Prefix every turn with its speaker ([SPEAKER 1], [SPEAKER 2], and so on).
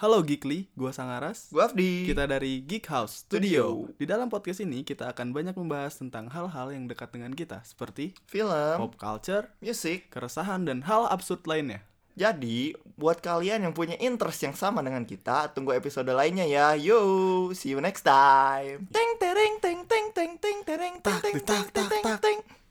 [SPEAKER 1] Halo Geekly, gua Sangaras.
[SPEAKER 2] Gue Afdi.
[SPEAKER 1] Kita dari Geek House Studio. Di dalam podcast ini kita akan banyak membahas tentang hal-hal yang dekat dengan kita seperti
[SPEAKER 2] film,
[SPEAKER 1] pop culture,
[SPEAKER 2] musik.
[SPEAKER 1] keresahan dan hal absurd lainnya.
[SPEAKER 2] Jadi, buat kalian yang punya interest yang sama dengan kita, tunggu episode lainnya ya. Yo, see you next time. Teng tereng teng teng teng teng tereng teng teng teng